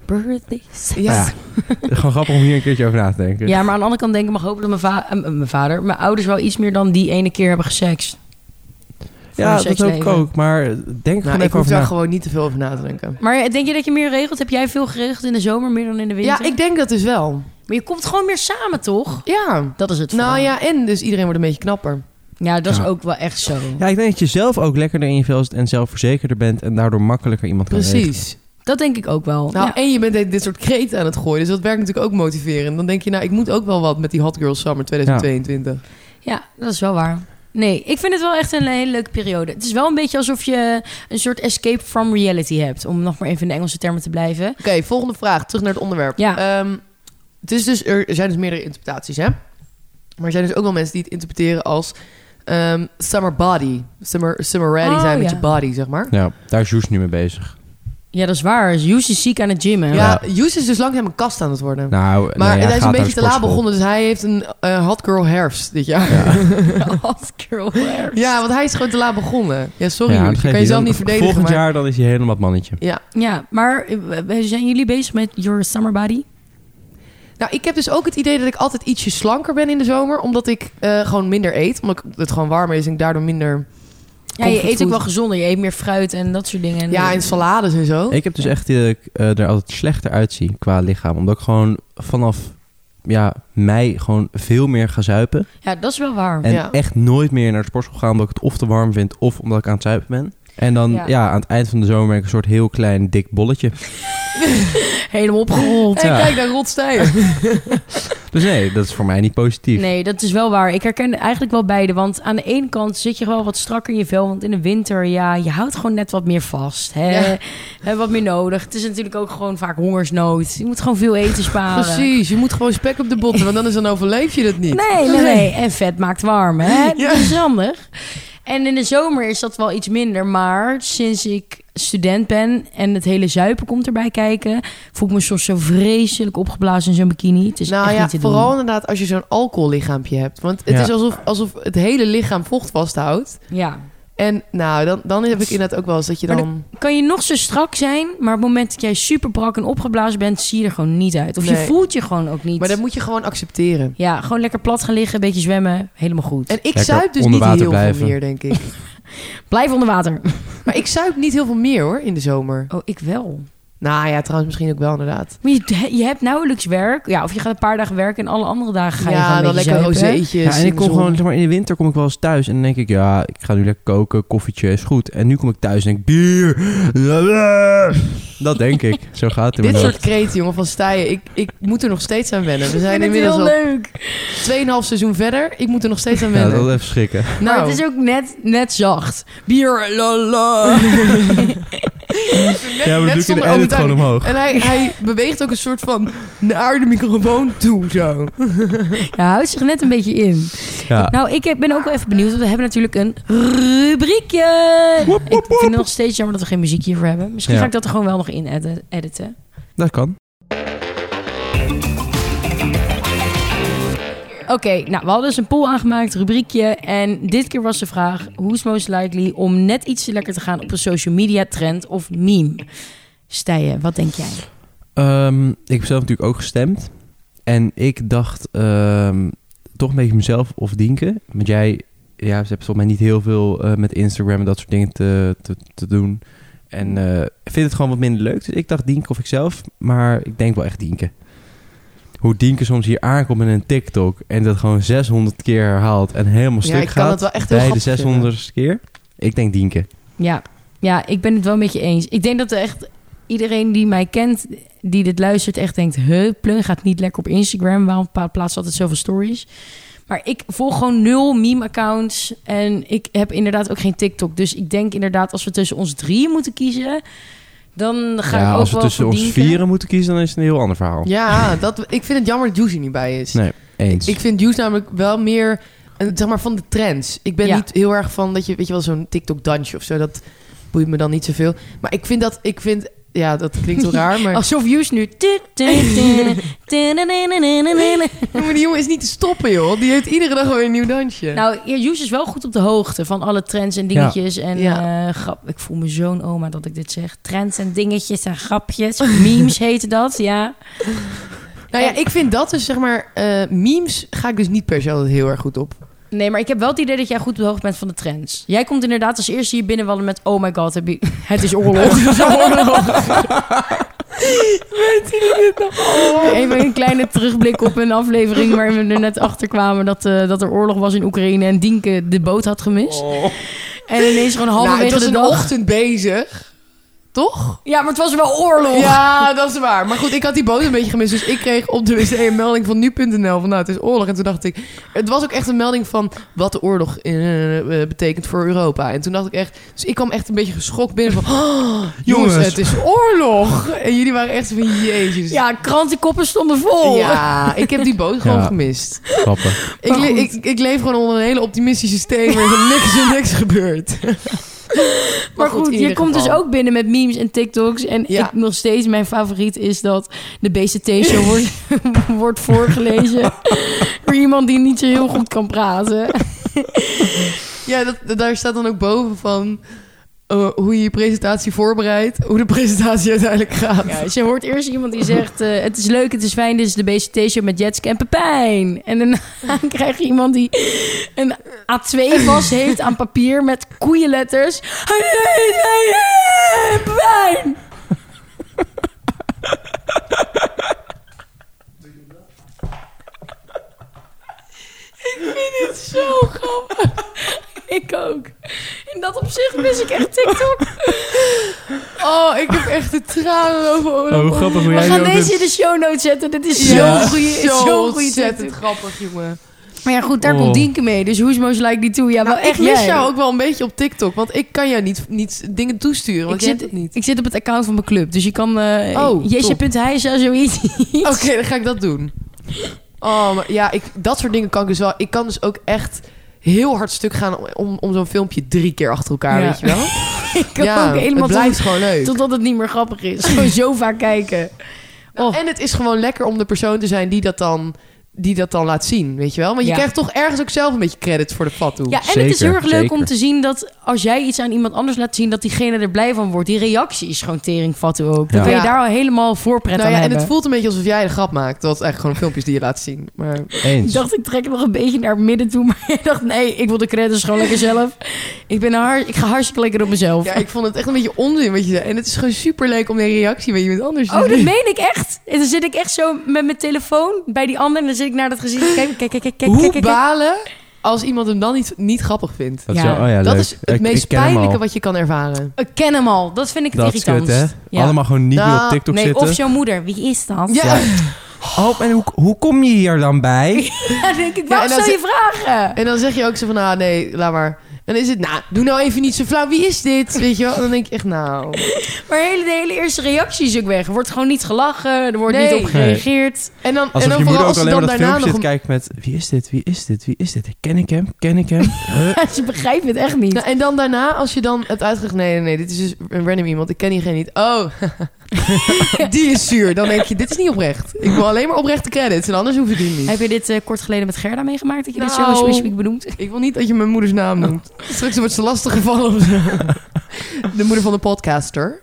S1: Birthdays.
S3: Ja.
S2: Nou ja, gewoon grappig om hier een keertje over na te denken.
S1: Ja, maar aan de andere kant denk ik mag hopen dat mijn, va- eh, mijn vader, mijn ouders wel iets meer dan die ene keer hebben gesext. Voor hun
S2: Ja, dat hoop ik
S1: seksleven.
S2: ook. Maar denk er
S3: Nou,
S2: gewoon
S3: ik
S2: even
S3: hoef
S2: over
S3: daar
S2: na.
S3: gewoon niet te veel over na te denken.
S1: Maar eh, denk je dat je meer regelt? Heb jij veel geregeld in de zomer, meer dan in de winter?
S3: Ja, ik denk dat dus wel.
S1: Maar je komt gewoon meer samen, toch?
S3: Ja.
S1: Dat is het
S3: Nou
S1: vooral.
S3: ja, en dus iedereen wordt een beetje knapper.
S1: Ja, dat is
S2: Ja.
S1: ook wel echt zo.
S2: Ja, ik denk dat je zelf ook lekkerder in je vel zit en zelfverzekerder bent en daardoor makkelijker iemand kan regelen.
S3: Precies.
S1: Dat denk ik ook wel.
S3: Nou,
S1: Ja.
S3: en je bent dit- dit soort kreten aan het gooien. Dus dat werkt natuurlijk ook motiverend. Dan denk je, nou, ik moet ook wel wat met die Hot Girl Summer 2022.
S1: Ja, dat is wel waar. Nee, ik vind het wel echt een hele leuke periode. Het is wel een beetje alsof je een soort escape from reality hebt. Om nog maar even in de Engelse termen te blijven.
S3: Oké, volgende vraag. Terug naar het onderwerp.
S1: Ja.
S3: Ehm, het is dus, er zijn dus meerdere interpretaties, hè? Maar er zijn dus ook wel mensen die het interpreteren als... ehm, summer body. Summer, summer ready
S1: Oh,
S3: zijn met
S1: ja.
S3: je body, zeg maar.
S2: Ja, daar is Joes nu mee bezig.
S1: Ja, dat is waar. Joes is ziek aan het gym, hè?
S3: Ja, Joes is dus langzaam een kast aan het worden.
S2: Nou,
S3: maar hij is
S2: nee, gaat
S3: een
S2: naar de
S3: beetje te laat
S2: sportschool.
S3: begonnen. Dus hij heeft een eh, Hot Girl herfst dit jaar. Ja.
S1: Hot girl wear.
S3: want hij is gewoon te laat begonnen. Ja, sorry,
S2: Ja,
S3: Joes.
S2: dat
S3: Je
S2: geeft
S3: kan jezelf
S2: Dan-
S3: niet verdedigen.
S2: Volgend
S3: maar...
S2: jaar dan is hij helemaal het mannetje.
S3: Ja.
S1: Ja, maar eh, eh, zijn jullie bezig met Your Summer Body?
S3: Nou, ik heb dus ook het idee dat ik altijd ietsje slanker ben in de zomer. Omdat ik eh, gewoon minder eet. Omdat het gewoon warmer is en ik daardoor minder...
S1: Ja, je
S3: Comfort
S1: eet ook
S3: food.
S1: wel gezonder. Je eet meer fruit en dat soort dingen.
S3: Ja, en salades en zo.
S2: Ik heb dus echt idee dat ik eh, er altijd slechter uitzie qua lichaam. Omdat ik gewoon vanaf ja, mei gewoon veel meer ga zuipen.
S1: Ja, dat is wel waar.
S2: En
S3: Ja.
S2: echt nooit meer naar de sportschool gaan omdat ik het of te warm vind of omdat ik aan het zuipen ben. En dan ja.
S1: Ja.
S2: aan het eind van de zomer ben ik een soort heel klein dik bolletje.
S1: Helemaal opgerold.
S3: En
S2: Ja.
S3: kijk naar Rod Steijer.
S2: Dus nee, dat is voor mij niet positief.
S1: Nee, dat is wel waar. Ik herken eigenlijk wel beide. Want aan de ene kant zit je wel wat strakker in je vel. Want in de winter, ja, je houdt gewoon net wat meer vast. Hè?
S3: Ja.
S1: Hè, wat meer nodig. Het is natuurlijk ook gewoon vaak hongersnood. Je moet gewoon veel eten sparen.
S3: Precies, je moet gewoon spek op de botten. Want anders dan overleef je het niet.
S1: Nee, nee, nee. En vet maakt warm, hè?
S3: Ja.
S1: Dat is handig. En in de zomer is dat wel iets minder. Maar sinds ik student ben en het hele zuipen komt erbij kijken... voel ik me soms zo vreselijk opgeblazen in zo'n bikini. Het is
S3: nou
S1: echt
S3: ja,
S1: niet te doen.
S3: vooral inderdaad als je zo'n alcohollichaampje hebt. Want het
S2: Ja.
S3: is alsof, alsof het hele lichaam vocht vasthoudt.
S1: Ja.
S3: En nou, dan, dan heb ik inderdaad ook wel eens dat je
S1: Maar
S3: dan...
S1: Kan je nog zo strak zijn, maar op het moment dat jij super brak en opgeblazen bent... zie je er gewoon niet uit. Of je
S3: Nee.
S1: voelt je gewoon ook niet.
S3: Maar dat moet je gewoon accepteren.
S1: Ja, gewoon lekker plat gaan liggen, een beetje zwemmen. Helemaal goed.
S3: En ik
S2: Lekker
S3: zuip dus
S2: onder
S3: niet
S2: water
S3: heel
S2: blijven.
S3: veel meer, denk ik.
S1: Blijf onder water.
S3: maar ik zuip niet heel veel meer, hoor, in de zomer.
S1: Oh, ik wel.
S3: Nou ja, trouwens misschien ook wel, inderdaad.
S1: Maar je, je hebt nauwelijks werk. Ja, of je gaat een paar dagen werken en alle andere dagen ga je
S3: ja,
S1: gewoon
S3: dan
S1: een beetje
S3: lekker
S1: zuipen.
S3: rozeetjes.
S2: Ja, en
S3: in
S2: ik
S3: de
S2: kom
S3: zon.
S2: gewoon, zeg maar, in de winter kom ik wel eens thuis en dan denk ik, ja, ik ga nu lekker koken, koffietje is goed. En nu kom ik thuis en denk ik, bier, dat denk ik. Zo gaat het in
S3: Dit
S2: mijn
S3: soort
S2: hoofd.
S3: kreten, jongen, van Stijen. Ik, ik moet er nog steeds aan wennen. We
S1: Ik
S3: zijn
S1: vind het
S3: inmiddels
S1: heel
S3: al
S1: leuk.
S3: 2,5 seizoen verder. Ik moet er nog steeds aan
S2: Ja,
S3: wennen.
S2: dat is even schrikken.
S1: Maar
S3: Nou,
S1: het is ook net, net zacht. Bier, la la.
S3: net,
S2: Ja, maar
S3: net
S2: dat doe ik in
S3: zonder
S2: de edit
S3: overtuiging.
S2: gewoon omhoog.
S3: En hij, hij beweegt ook een soort van naar de microfoon toe, zo.
S1: Ja, houdt zich net een beetje in.
S2: Ja.
S1: Nou, ik heb- ben ook wel even benieuwd, want we hebben natuurlijk een rubriekje. Ik vind het nog steeds jammer dat we geen muziek hiervoor hebben. Misschien
S2: Ja.
S1: ga ik dat er gewoon wel nog in edit- editen.
S2: Dat kan.
S1: Oké, nou, we hadden dus een poll aangemaakt, rubriekje. En dit keer was de vraag, who's most likely om net iets te lekker te gaan op een social media trend of meme? Stijen, wat denk jij?
S2: Ehm, ik heb zelf natuurlijk ook gestemd. En ik dacht ehm, toch een beetje mezelf of Dienke. Want jij, ja, ze hebt volgens mij niet heel veel eh, met Instagram en dat soort dingen te, te, te doen. En eh, ik vind het gewoon wat minder leuk. Dus ik dacht Dienke of ikzelf. Maar ik denk wel echt Dienke. Hoe Dienke soms hier aankomt in een TikTok. En dat gewoon 600 keer herhaalt. En helemaal stuk
S3: ja, ik
S2: gaat.
S3: kan het wel echt heel
S2: bij de
S3: grappig vinden.
S2: 600ste keer. Ik denk Dienke.
S1: Ja. ja, ik ben het wel met je eens. Ik denk dat er echt iedereen die mij kent, die dit luistert, echt denkt... Huh, Pleun gaat niet lekker op Instagram. Waarom pla- plaatst ze altijd zoveel stories? Maar ik volg gewoon nul meme-accounts. En ik heb inderdaad ook geen TikTok. Dus ik denk inderdaad, als we tussen ons drieën moeten kiezen... dan ga
S2: ja,
S1: ik ook
S2: als we
S1: wel
S2: tussen
S1: voor
S2: ons
S1: Dienke.
S2: vieren moeten kiezen, dan is het een heel ander verhaal.
S3: Ja, dat, ik vind het jammer dat Juicy niet bij is.
S2: Nee. Eens.
S3: Ik vind Juice namelijk wel meer, een- zeg maar, van de trends. Ik ben
S1: Ja.
S3: niet heel erg van, dat je, weet je wel, zo'n TikTok-dansje of zo. Dat boeit me dan niet zoveel. Maar ik vind dat, ik vind, ja, dat klinkt heel raar, maar...
S1: Alsof Jus nu...
S3: Ja, maar die jongen is niet te stoppen, joh. Die heeft iedere dag weer een nieuw dansje.
S1: Nou, ja, Joes is wel goed op de hoogte van alle trends en dingetjes. En
S3: Ja.
S1: eh, grap, ik voel me zo'n oma dat ik dit zeg. Trends en dingetjes en grapjes. Memes heten dat, ja.
S3: Nou ja, ik vind dat dus, zeg maar, eh, memes ga ik dus niet per se altijd heel erg goed op.
S1: Nee, maar ik heb wel het idee dat jij goed op de hoogte bent van de trends. Jij komt inderdaad als eerste hier binnen wallen met... Oh my god, heb je- het is oorlog. Even een kleine terugblik op een aflevering... waarin we er net achter kwamen dat, eh, dat er oorlog was in Oekraïne... en Dienke de boot had gemist. En ineens gewoon
S3: Oh. nou,
S1: halverwege
S3: het was
S1: de
S3: een
S1: dag...
S3: ochtend bezig. Toch?
S1: Ja, maar het was wel oorlog.
S3: Ja, dat is waar. Maar goed, ik had die boot een beetje gemist. Dus ik kreeg op de wc een melding van nu.nl van nou, het is oorlog. En toen dacht ik, het was ook echt een melding van wat de oorlog eh, eh, betekent voor Europa. En toen dacht ik echt, dus ik kwam echt een beetje geschokt binnen van, oh, jongens,
S2: Jongens.
S3: het is oorlog. En jullie waren echt zo van, jezus.
S1: Ja, krantenkoppen stonden vol.
S3: Ja, ik heb die boot gewoon
S2: Ja.
S3: gemist.
S2: Grappig.
S3: Ik,
S1: Maar
S3: le-
S1: goed.
S3: ik, ik leef gewoon onder een hele optimistische steen waarin niks en niks gebeurt.
S1: maar goed,
S3: in
S1: je
S3: ieder
S1: komt dus
S3: geval.
S1: ook binnen met memes en TikToks. En
S3: Ja.
S1: ik nog steeds, mijn favoriet is dat de BCT-show wordt, wordt voorgelezen. voor iemand die niet zo heel goed kan praten.
S3: Ja, dat, dat- daar staat dan ook boven van eh, hoe je je presentatie voorbereidt, hoe de presentatie uiteindelijk gaat.
S1: Ja, dus je hoort eerst iemand die zegt... eh, het is leuk, het is fijn, dit is de BCT-show met Jetske en Pepijn. En daarna krijg je iemand die een A2-was heeft aan papier met koeienletters. Hey, hey, hey, hey, Pepijn! Ik vind het zo grappig. Ik ook. In dat opzicht mis ik echt TikTok.
S3: Oh, ik heb echt de tranen over mijn
S2: Oh, hoe
S3: ogen.
S2: grappig hoe
S1: We
S2: jij
S1: gaan
S2: nu ook
S1: deze
S2: doet.
S1: in de show notes zetten. Dit is
S3: Zo'n
S2: Ja.
S1: zo'n goede
S3: goeie, zo
S1: zo goede
S3: ontzettend grappig, jongen.
S1: Maar ja, goed, daar
S2: Oh.
S1: komt Dienke mee. Dus who's most like die toe? Ja,
S3: Nou,
S1: wel echt
S3: ik mis
S1: jij.
S3: jou ook wel een beetje op TikTok, want ik kan jou niet, niet dingen toesturen,
S1: Ik
S3: want je hebt
S1: zit,
S3: het niet.
S1: ik zit op het account van mijn club. Dus je kan... eh
S3: Oh,
S1: oh, zoiets.
S3: Oké, dan ga ik dat doen. Oh, maar ja, ik, dat soort dingen kan ik dus wel. Ik kan dus ook echt heel hard stuk gaan om, om, om zo'n filmpje drie keer achter elkaar,
S1: Ja.
S3: weet je wel?
S1: ik kan ook helemaal
S3: het blijft
S1: tot,
S3: gewoon leuk.
S1: totdat het niet meer grappig is. Gewoon zo vaak kijken. Oh.
S3: Nou, En het is gewoon lekker om de persoon te zijn die dat dan, die dat dan laat zien, weet je wel? Want je
S1: Ja.
S3: krijgt toch ergens ook zelf een beetje credit voor de fat toe.
S1: Ja, en het is
S2: Zeker,
S1: heel erg leuk
S2: zeker.
S1: om te zien dat als jij iets aan iemand anders laat zien... dat diegene er blij van wordt. Die reactie is gewoon teringvatten ook. Dan
S2: Ja.
S1: kan je
S3: Ja.
S1: daar al helemaal voorpret
S3: nou
S1: aan
S3: ja, en
S1: hebben.
S3: het voelt een beetje alsof jij de grap maakt. Dat is eigenlijk gewoon filmpjes die je laat zien. Maar
S1: Ik
S2: Eens.
S1: dacht, ik trek het nog een beetje naar het midden toe. Maar ik dacht, nee, ik wil de credits gewoon lekker zelf. Ik, ben hard, ik ga hartstikke lekker op mezelf.
S3: ja, ik vond het echt een beetje onzin wat je zei. En het is gewoon super leuk om de reactie bij iemand anders te
S1: Oh, dat
S3: zien.
S1: meen ik echt. En dan zit ik echt zo met mijn telefoon bij die ander. En dan zit ik naar dat gezicht. te kijken. Kijk, kijk, kijk, kijk, kijk,
S3: Hoe
S1: kijk.
S3: balen als iemand hem dan niet, niet grappig vindt?
S2: Dat, is
S1: Ja.
S2: wel- oh ja,
S3: Dat
S2: leuk.
S3: is het
S2: Ik-
S3: meest
S2: ik ken hem al.
S3: pijnlijke wat je kan ervaren.
S1: Ik ken hem al. Dat vind ik het
S2: Dat is
S1: irritant.
S2: kut, hè?
S1: Ja.
S2: Allemaal gewoon niet meer
S3: Nou,
S2: op TikTok
S1: nee,
S2: zitten.
S1: of jouw moeder. Wie is dat?
S3: Ja,
S2: Oh, en hoe, hoe kom je hier dan bij?
S1: Ja, dan denk ik,
S3: Ja, en
S1: waarom
S3: dan
S1: zou je vragen?
S3: en dan zeg je ook zo van, ah nee, laat maar. En dan is het, nou, doe nou even niet zo flauw. Wie is dit? Weet je wel? En dan denk ik echt, nou...
S1: Maar hele, de hele eerste reactie is ook weg. Er wordt gewoon niet gelachen. Er wordt
S3: Nee.
S1: niet op gereageerd.
S3: En dan, en
S2: Alsof
S3: dan
S2: je moeder
S3: vooral
S2: ook
S3: als ze
S2: alleen
S3: dan
S2: maar dat
S3: daarna
S2: filmpje
S3: nog...
S2: zit kijkt met... Wie is dit? Wie is dit? Wie is dit? Ken ik hem? Ken ik hem? Huh?
S1: Ze begrijpen het echt niet.
S3: Nou, en dan daarna, als je dan het uitgelegd... Nee, nee, nee, dit is dus een random iemand. Ik ken diegene niet. Oh, die is zuur. Dan denk je, dit is niet oprecht. Ik wil alleen maar oprechte credits en anders hoef ik die niet.
S1: Heb je dit eh, kort geleden met Gerda meegemaakt? Dat je dit
S3: Nou.
S1: zo specifiek benoemt?
S3: Ik wil niet dat je mijn moeders naam noemt.
S2: Oh.
S3: Straks wordt ze lastig gevallen of zo. De moeder van de podcaster.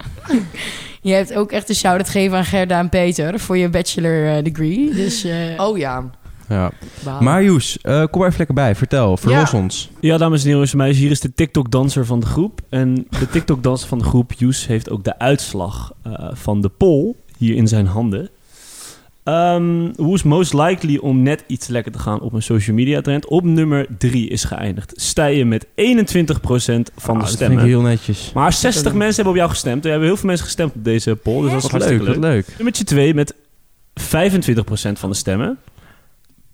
S1: Je hebt ook echt een shout-out gegeven aan Gerda en Peter voor je bachelor eh, degree. Dus eh,
S3: Oh ja.
S2: Ja.
S3: Wauw.
S2: Maar Joes, eh, kom maar even lekker bij. Vertel, verlos
S3: Ja.
S2: ons.
S4: Ja, dames en heren, jongens en meisjes, hier is de TikTok-danser van de groep. En de TikTok-danser van de groep, Joes, heeft ook de uitslag eh, van de poll hier in zijn handen. Ehm who is most likely om net iets lekker te gaan op een social media trend? Op nummer 3 is geëindigd. Stijen met 21% van
S2: Ah, dat vind ik
S4: de stemmen.
S2: heel netjes.
S4: Maar 60 mensen hebben op jou gestemd. Er hebben heel veel mensen gestemd op deze poll, dus dat is
S2: Wat
S4: hartstikke
S2: leuk,
S4: leuk.
S2: wat leuk.
S4: Nummertje 2 met 25% van de stemmen.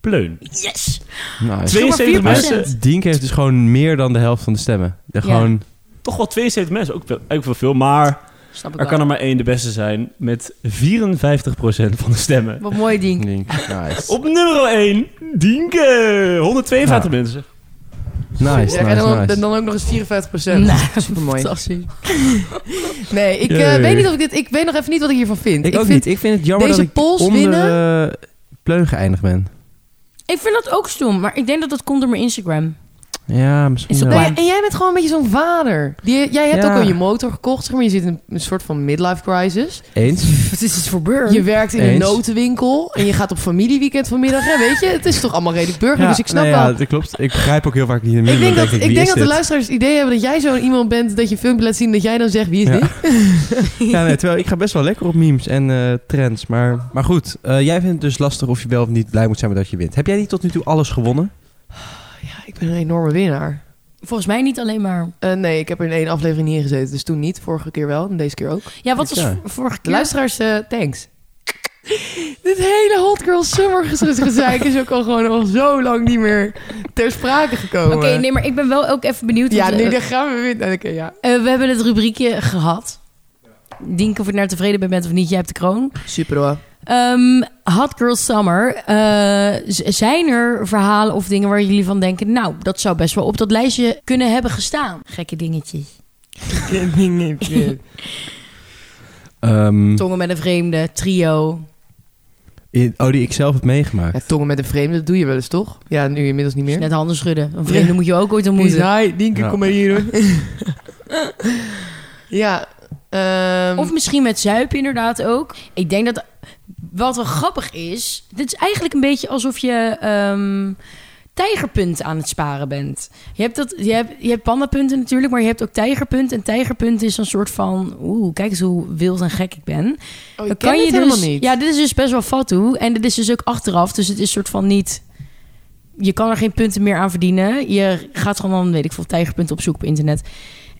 S4: Pleun.
S1: yes!
S2: Nice.
S4: 72 mensen.
S2: Dink heeft dus gewoon meer dan de helft van de stemmen.
S1: Ja.
S2: Ja, gewoon
S4: Toch wel 72 mensen. Ook wel, ook wel veel. Maar
S1: Snap ik
S4: er
S1: wel.
S4: kan er maar één de beste zijn. Met 54% van de stemmen.
S1: Wat mooi ding.
S2: Dink. Nice.
S4: Op nummer 1, Dienke. 152
S2: Ja.
S4: mensen.
S2: Nice,
S3: Ja, en
S2: nice,
S3: dan,
S2: nice.
S3: dan ook nog eens 54
S1: Nou,
S3: Supermooi.
S1: Fantastisch.
S3: Nee, ik
S4: Ja,
S3: eh,
S4: ja, ja.
S3: weet niet of ik dit... Ik weet nog even niet wat ik hiervan vind.
S2: Ik, ook
S3: vind,
S2: niet. Ik vind het jammer
S3: deze
S2: dat ik
S3: polls
S2: onder
S3: winnen-
S2: eh, pleun geëindigd ben.
S1: Ik vind dat ook stom, maar ik denk dat dat komt door mijn Instagram.
S2: Ja, misschien
S1: Is dat
S2: wel.
S3: Nou ja, en jij bent gewoon een beetje zo'n vader. Die, jij hebt
S2: Ja.
S3: ook al je motor gekocht, zeg maar. Je zit in een, een soort van midlife crisis.
S2: Eens?
S1: Wat is het voor beur?
S3: Je werkt in een
S2: Eens.
S3: notenwinkel en je gaat op familieweekend vanmiddag. Ja, weet je, het is toch allemaal redelijk burger,
S2: Ja,
S3: dus ik snap
S2: nee,
S3: wel.
S2: Nou Ja, dat klopt. Ik begrijp ook heel vaak niet in de
S3: Ik
S2: middel.
S3: denk, dat,
S2: ik,
S3: ik
S2: wie
S3: denk
S2: is
S3: dat de
S2: dit?
S3: luisteraars het idee hebben dat jij zo'n iemand bent dat je een filmpje laat zien dat jij dan zegt wie is
S2: Ja.
S3: dit?
S2: Ja, nee, terwijl ik ga best wel lekker op memes en eh, trends. Maar, maar goed, eh, jij vindt het dus lastig of je wel of niet blij moet zijn met dat je wint. Heb jij niet tot nu toe alles gewonnen?
S3: Oh Ja, ik ben een enorme winnaar.
S1: Volgens mij niet alleen maar...
S3: Eh, nee, ik heb er in één aflevering niet in gezeten, dus toen niet. Vorige keer wel en deze keer ook.
S1: Ja, wat was
S2: Ja.
S1: vor- vorige
S3: De
S1: keer?
S3: luisteraars, eh, thanks. Dit hele Hot Girl Summer gez- gezeik is ook al gewoon al zo lang niet meer ter sprake gekomen.
S1: Oké, nee, maar ik ben wel ook even benieuwd.
S3: Oh, eh. Ja,
S1: want,
S3: nu
S1: eh,
S3: dan gaan we weer. nou, Oké, ja.
S1: eh, we hebben het rubriekje gehad. Dink of je naar tevreden bij bent of niet, jij hebt de kroon.
S3: Super hoor.
S1: Ehm, Hot Girl Summer. eh, z- zijn er verhalen of dingen waar jullie van denken... nou, dat zou best wel op dat lijstje kunnen hebben gestaan? Gekke dingetjes.
S2: Ehm,
S1: Tongen met een vreemde, trio.
S2: in- oh, die ik zelf heb meegemaakt.
S3: Ja, tongen met een vreemde, dat doe je wel eens toch? Ja, nu inmiddels niet
S1: Dus
S3: meer.
S1: net handen schudden. Een vreemde moet je ook ooit ontmoeten.
S3: hi, Dienke,
S2: Ja.
S3: maar hier hoor. ja, ehm,
S1: Of misschien met zuipen inderdaad ook. Ik denk dat wat wel grappig is... Dit is eigenlijk een beetje alsof je ehm, tijgerpunt aan het sparen bent. Je hebt, dat, je, hebt, je hebt pandapunten natuurlijk, maar je hebt ook tijgerpunt. En tijgerpunt is een soort van... Oeh, kijk eens hoe wild en gek ik ben.
S3: oh,
S1: Dan
S3: ik ken dit
S1: dus,
S3: helemaal niet.
S1: Ja, dit is dus best wel fatu. En dit is dus ook achteraf. Dus het is soort van niet... Je kan er geen punten meer aan verdienen. Je gaat gewoon dan, weet ik veel, tijgerpunten opzoeken op internet.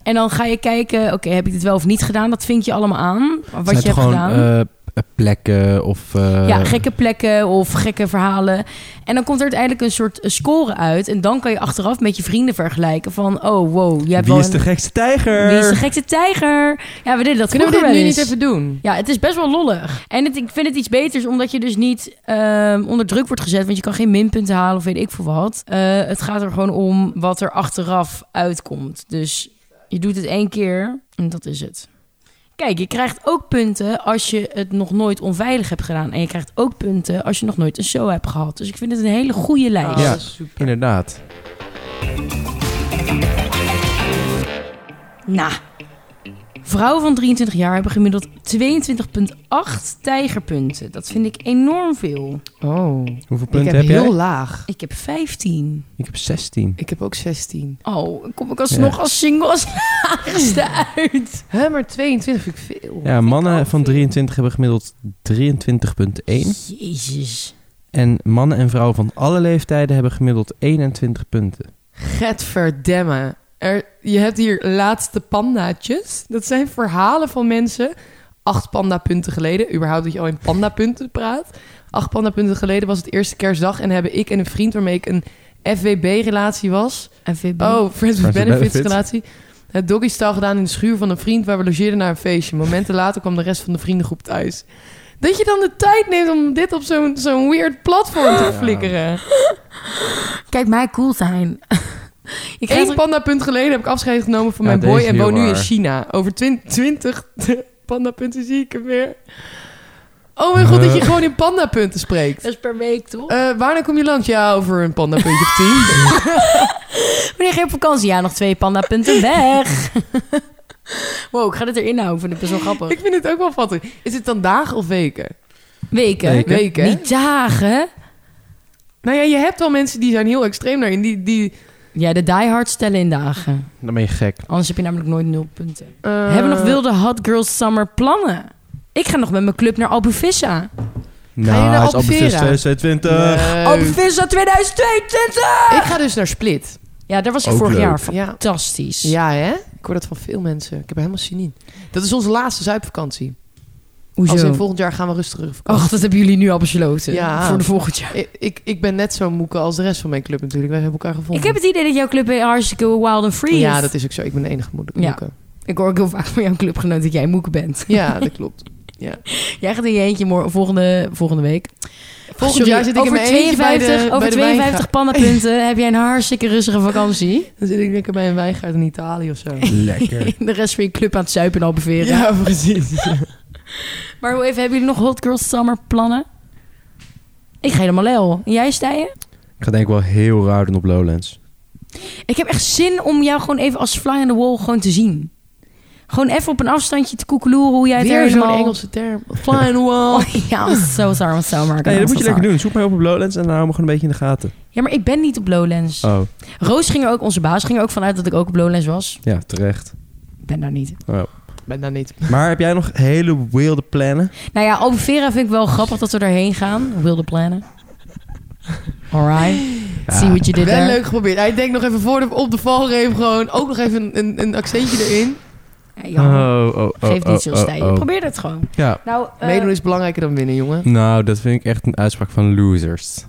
S1: En dan ga je kijken, oké, heb ik dit wel of niet gedaan? Dat vind je allemaal aan. Wat
S2: Zijn
S1: je
S2: het
S1: hebt
S2: gewoon
S1: gedaan.
S2: eh, plekken of... eh,
S1: ja, gekke plekken of gekke verhalen. En dan komt er uiteindelijk een soort score uit. En dan kan je achteraf met je vrienden vergelijken van... Oh, wow, jij hebt
S2: Wie
S1: wel
S2: is de
S1: een-
S2: gekste tijger?
S1: wie is de gekste tijger? Ja, we deden dat
S3: Kunnen
S1: vroeger
S3: we dit nu
S1: wel
S3: niet
S1: eens.
S3: even doen?
S1: Ja, het is best wel lollig. En het, ik vind het iets beters, omdat je dus niet ehm, onder druk wordt gezet. Want je kan geen minpunten halen of weet ik veel wat. Eh, het gaat er gewoon om wat er achteraf uitkomt. Dus je doet het één keer en dat is het. Kijk, je krijgt ook punten als je het nog nooit onveilig hebt gedaan. En je krijgt ook punten als je nog nooit een show hebt gehad. Dus ik vind het een hele goede lijst.
S2: Ja.
S3: dat is Oh, super.
S2: Inderdaad.
S1: Nou. Vrouwen van 23 jaar hebben gemiddeld 22,8 tijgerpunten. Dat vind ik enorm veel.
S3: Oh,
S2: Hoeveel
S3: ik
S2: punten
S3: heb
S2: heb,
S3: heel
S2: jij?
S3: laag.
S1: Ik heb 15.
S2: Ik heb 16.
S3: Ik heb ook 16.
S1: Oh, kom ik alsnog
S2: Ja.
S1: als single als laagste uit.
S3: Hè, maar 22 vind ik veel.
S2: Ja,
S1: al
S2: mannen van
S1: veel.
S2: 23 hebben gemiddeld 23,1.
S1: Jezus.
S2: En mannen en vrouwen van alle leeftijden hebben gemiddeld 21 punten.
S3: Getverdemme. Er, je hebt hier laatste pandaatjes. Dat zijn verhalen van mensen. Acht pandapunten geleden. Überhaupt dat je al in pandapunten praat. Acht pandapunten geleden was het eerste kerstdag. En hebben ik en een vriend waarmee ik een FWB-relatie was.
S1: En VB.
S3: Oh, Friends with
S2: Friends with
S3: Benefits
S2: Benefits.
S3: relatie. Het doggy style gedaan in de schuur van een vriend waar we logeerden naar een feestje. Momenten later kwam de rest van de vriendengroep thuis. Dat je dan de tijd neemt om dit op zo'n zo'n weird platform te flikkeren.
S1: Kijk, mij cool zijn. ik ga
S3: Eén
S1: er-
S3: pandapunt geleden heb ik afscheid genomen van
S2: Ja,
S3: mijn
S2: deze
S3: boy
S2: is
S3: en woon
S2: heel
S3: nu in
S2: waar.
S3: China. Over twin- twintig pandapunten zie ik hem weer. Oh mijn god, dat je
S2: Eh.
S3: gewoon in pandapunten spreekt.
S1: Dat is per week, toch?
S3: Eh wanneer kom je langs? Ja, over een pandapuntje of tien.
S1: Wanneer ga je op vakantie? Ja, nog twee pandapunten weg. Wow, ik ga dit erin houden. Ik vind het best wel grappig.
S3: Ik vind het ook wel fattig. Is het dan dagen of weken?
S1: Weken.
S2: Weken.
S3: Weken, hè?
S1: Niet dagen.
S3: Nou ja, je hebt wel mensen die zijn heel extreem daarin. Die, die,
S1: Ja, de diehard stellen in dagen.
S2: Dan ben je gek.
S1: Anders heb je namelijk nooit nul punten.
S3: eh,
S1: Hebben we nog wilde Hot Girls Summer plannen? Ik ga nog met mijn club naar Albufissa.
S2: Nou,
S3: naar
S2: hij is al
S3: Albufeira?
S2: beslist 2020.
S3: Nee.
S1: Albufissa 2022!
S3: Eh, Ik ga dus naar Split.
S1: Ja, daar was ik
S2: Ook
S1: vorig
S2: leuk.
S1: jaar
S3: Ja.
S1: fantastisch.
S3: ja, hè? Ik hoor dat van veel mensen. Ik heb er helemaal zin in. Dat is onze laatste zuipvakantie. Als in
S1: Hoezo? Oh,
S3: volgend jaar gaan we rustige vakantie.
S1: Ach, dat hebben jullie nu al besloten.
S3: Ja.
S1: Voor de volgend jaar.
S3: Ik, ik, ik ben net zo moeke als de rest van mijn club natuurlijk. Wij hebben elkaar gevonden.
S1: Ik heb het idee dat jouw club hartstikke wild and free is.
S3: Ja, dat is ook zo. Ik ben de enige moeder.
S1: Ja.
S3: moeke.
S1: Ik hoor ook heel vaak van jouw clubgenoot dat jij moeke bent.
S3: ja dat klopt.
S1: Jij gaat in je eentje mor- volgende, volgende week.
S3: Volgend
S1: Sorry,
S3: jaar zit ik in
S1: over
S3: mijn eentje bij de, bij
S1: Over
S3: de
S1: 52
S3: wijngaard.
S1: pandapunten heb jij een hartstikke rustige vakantie.
S3: Dan zit ik lekker bij een wijngaard in Italië of zo.
S2: Lekker.
S1: De rest van je club aan het zuipen en albeveren.
S3: precies.
S1: Maar hoe even, hebben jullie nog Hot Girls Summer plannen? Ik ga helemaal lel. En jij, Stijen?
S2: Ik ga denk ik wel heel raar doen op Lowlands.
S1: Ik heb echt zin om jou gewoon even als fly on the wall gewoon te zien. Gewoon even op een afstandje te koekeloeren hoe jij het
S3: Weer zo'n
S1: helemaal...
S3: Engelse term. Flying wall.
S1: Oh, ja, I'm so sorry, I'm so sorry.
S2: Nee, dat moet je
S1: I'm so
S2: lekker doen. Zoek mij op op Lowlands en dan hou me gewoon een beetje in de gaten.
S1: sorry. Ja, maar ik ben niet op Lowlands.
S2: Oh,
S1: Roos ging er ook, onze baas ging er ook vanuit dat ik ook op Lowlands was.
S2: ja, terecht. Oh.
S1: Ik ben daar niet.
S3: Ben daar niet.
S2: Maar heb jij nog hele wilde plannen?
S1: Nou ja, Albufeira vind ik wel grappig dat we daarheen gaan. Wilde plannen. Alright. See what you did
S3: Wel
S1: there.
S3: leuk geprobeerd. Hij denkt nog even voor de, op de valreep gewoon ook nog even een, een, een accentje erin.
S1: Ja, jammer.
S2: oh, oh.
S1: Geef niet zo'n
S2: oh,
S1: stijl.
S2: oh.
S1: Probeer dat gewoon.
S2: Ja.
S1: Nou, eh,
S3: Meedoen is belangrijker dan winnen, jongen.
S2: Nou, dat vind ik echt een uitspraak van losers.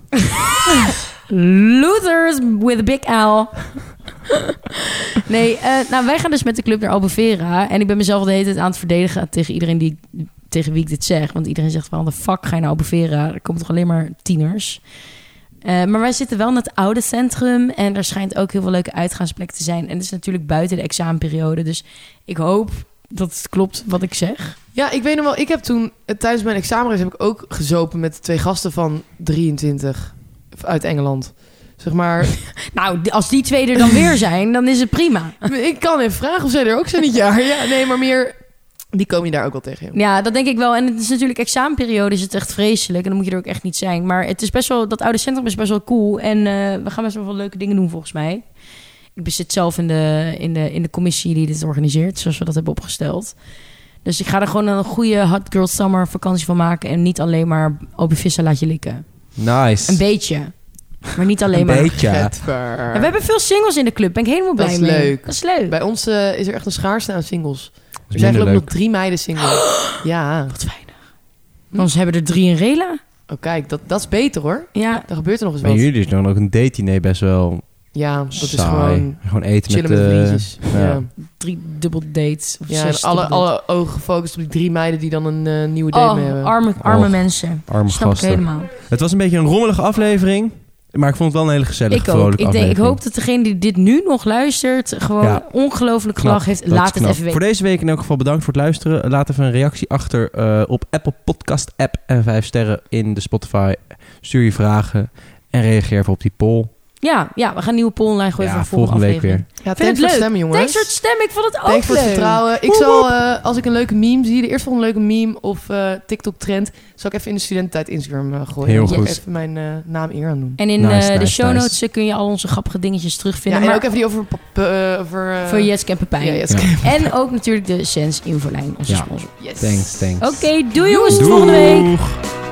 S1: Losers with a big L. nee, eh, nou wij gaan dus met de club naar Albufeira. En ik ben mezelf al de hele tijd aan het verdedigen tegen iedereen die, ik- tegen wie ik dit zeg. Want iedereen zegt van, de fuck ga je naar Albufeira? Er komen toch alleen maar tieners? Eh, maar wij zitten wel in het oude centrum. En er schijnt ook heel veel leuke uitgaansplekken te zijn. En het is natuurlijk buiten de examenperiode. Dus ik hoop dat het klopt wat ik zeg.
S3: Ja, ik weet nog wel. Ik heb toen eh, tijdens mijn examenreis heb ik ook gezopen met twee gasten van 23 uit Engeland. Zeg maar,
S1: Nou, d- als die twee er dan weer zijn, dan is het prima.
S3: ik kan even vragen of zij er ook zijn dit jaar. Ja, nee, maar meer, die kom je daar ook wel tegen. jongen.
S1: Ja, dat denk ik wel. En het is natuurlijk examenperiode, is het echt vreselijk. En dan moet je er ook echt niet zijn. Maar het is best wel, dat oude centrum is best wel cool. En eh, we gaan best wel veel leuke dingen doen volgens mij. Ik bezit zelf in de, in de, in de commissie die dit organiseert, zoals we dat hebben opgesteld. Dus ik ga er gewoon een goede Hot Girl Summer vakantie van maken. En niet alleen maar open vissen laat je likken.
S2: Nice.
S1: Een beetje. Maar niet alleen
S2: Een
S1: maar.
S2: beetje.
S3: Getver.
S1: En we hebben veel singles in de club. Ben ik helemaal
S3: Dat
S1: blij
S3: is
S1: mee.
S3: leuk.
S1: Dat is leuk.
S3: Bij ons eh, is er echt een schaarste aan singles. Dus
S2: Dat
S3: Er
S2: is
S3: zijn
S2: minder
S3: geloof ik nog
S2: leuk.
S3: drie meiden single. Ja.
S1: Wat weinig. Anders hebben er drie een rela.
S3: Oh, kijk, dat, dat is beter hoor.
S1: Ja.
S3: Daar gebeurt er nog eens
S2: Maar
S3: wat.
S2: jullie doen ook een date-diner best wel
S3: Ja, dat is
S2: saai.
S3: gewoon
S2: Gewoon eten
S3: chillen
S2: met eh,
S3: met,
S2: de...
S3: vriendjes.
S2: ja.
S3: Ja.
S1: Drie dubbel dates. Of
S3: Ja, en
S1: zes
S3: alle,
S1: dubbeldates.
S3: alle ogen gefocust op die drie meiden die dan een eh, nieuwe date mee hebben.
S1: Oh, arme, arme
S2: Och,
S1: mensen.
S2: arme
S1: Snap
S2: gasten.
S1: ik helemaal.
S2: Het was een beetje een rommelige aflevering. Maar ik vond het wel een hele gezellige,
S1: Ik ook.
S2: vrolijke
S1: Ik, denk, ik
S2: aflevering.
S1: hoop dat degene die dit nu nog luistert... gewoon
S2: Ja.
S1: ongelooflijk
S2: Knap.
S1: gelach heeft.
S2: Dat is
S1: Laat het
S2: knap.
S1: even weten.
S2: Voor deze week in elk geval bedankt voor het luisteren. Laat even een reactie achter eh, op Apple Podcast app en 5 sterren in de Spotify. Stuur je vragen en reageer even op die poll.
S1: Ja, ja, we gaan een nieuwe poll online gooien voor
S2: Ja,
S1: de volgende,
S2: volgende week
S1: aflevering.
S3: Ja,
S1: het
S3: thanks voor het
S1: leuk.
S3: stemmen, jongens.
S1: Thanks voor het stemmen. Ik vond het ook
S3: Thanks voor het
S1: leuk.
S3: vertrouwen. Ik
S1: Woep,
S3: zal, eh, als ik een leuke meme zie, de eerste volgende leuke meme of TikTok-trend, zal ik even in de studententijd Instagram eh, gooien.
S2: Heel
S3: Ik moet
S2: goed.
S3: Even mijn eh, naam eer aan doen.
S1: En in
S2: Nice,
S1: eh, de
S2: nice,
S1: show
S2: nice.
S1: notes eh, kun je al onze grappige dingetjes
S3: Ja,
S1: terugvinden.
S3: en
S1: maar
S3: ook even die over... pap- eh, over eh,
S1: voor Jetske en Pepijn.
S3: Ja, yes.
S2: Ja.
S1: En ook natuurlijk de Sens Infolijn, onze
S2: Ja.
S1: sponsor.
S3: Yes.
S2: Thanks, thanks.
S1: Oké, doei jongens. Dus Tot volgende week.
S2: Doeg.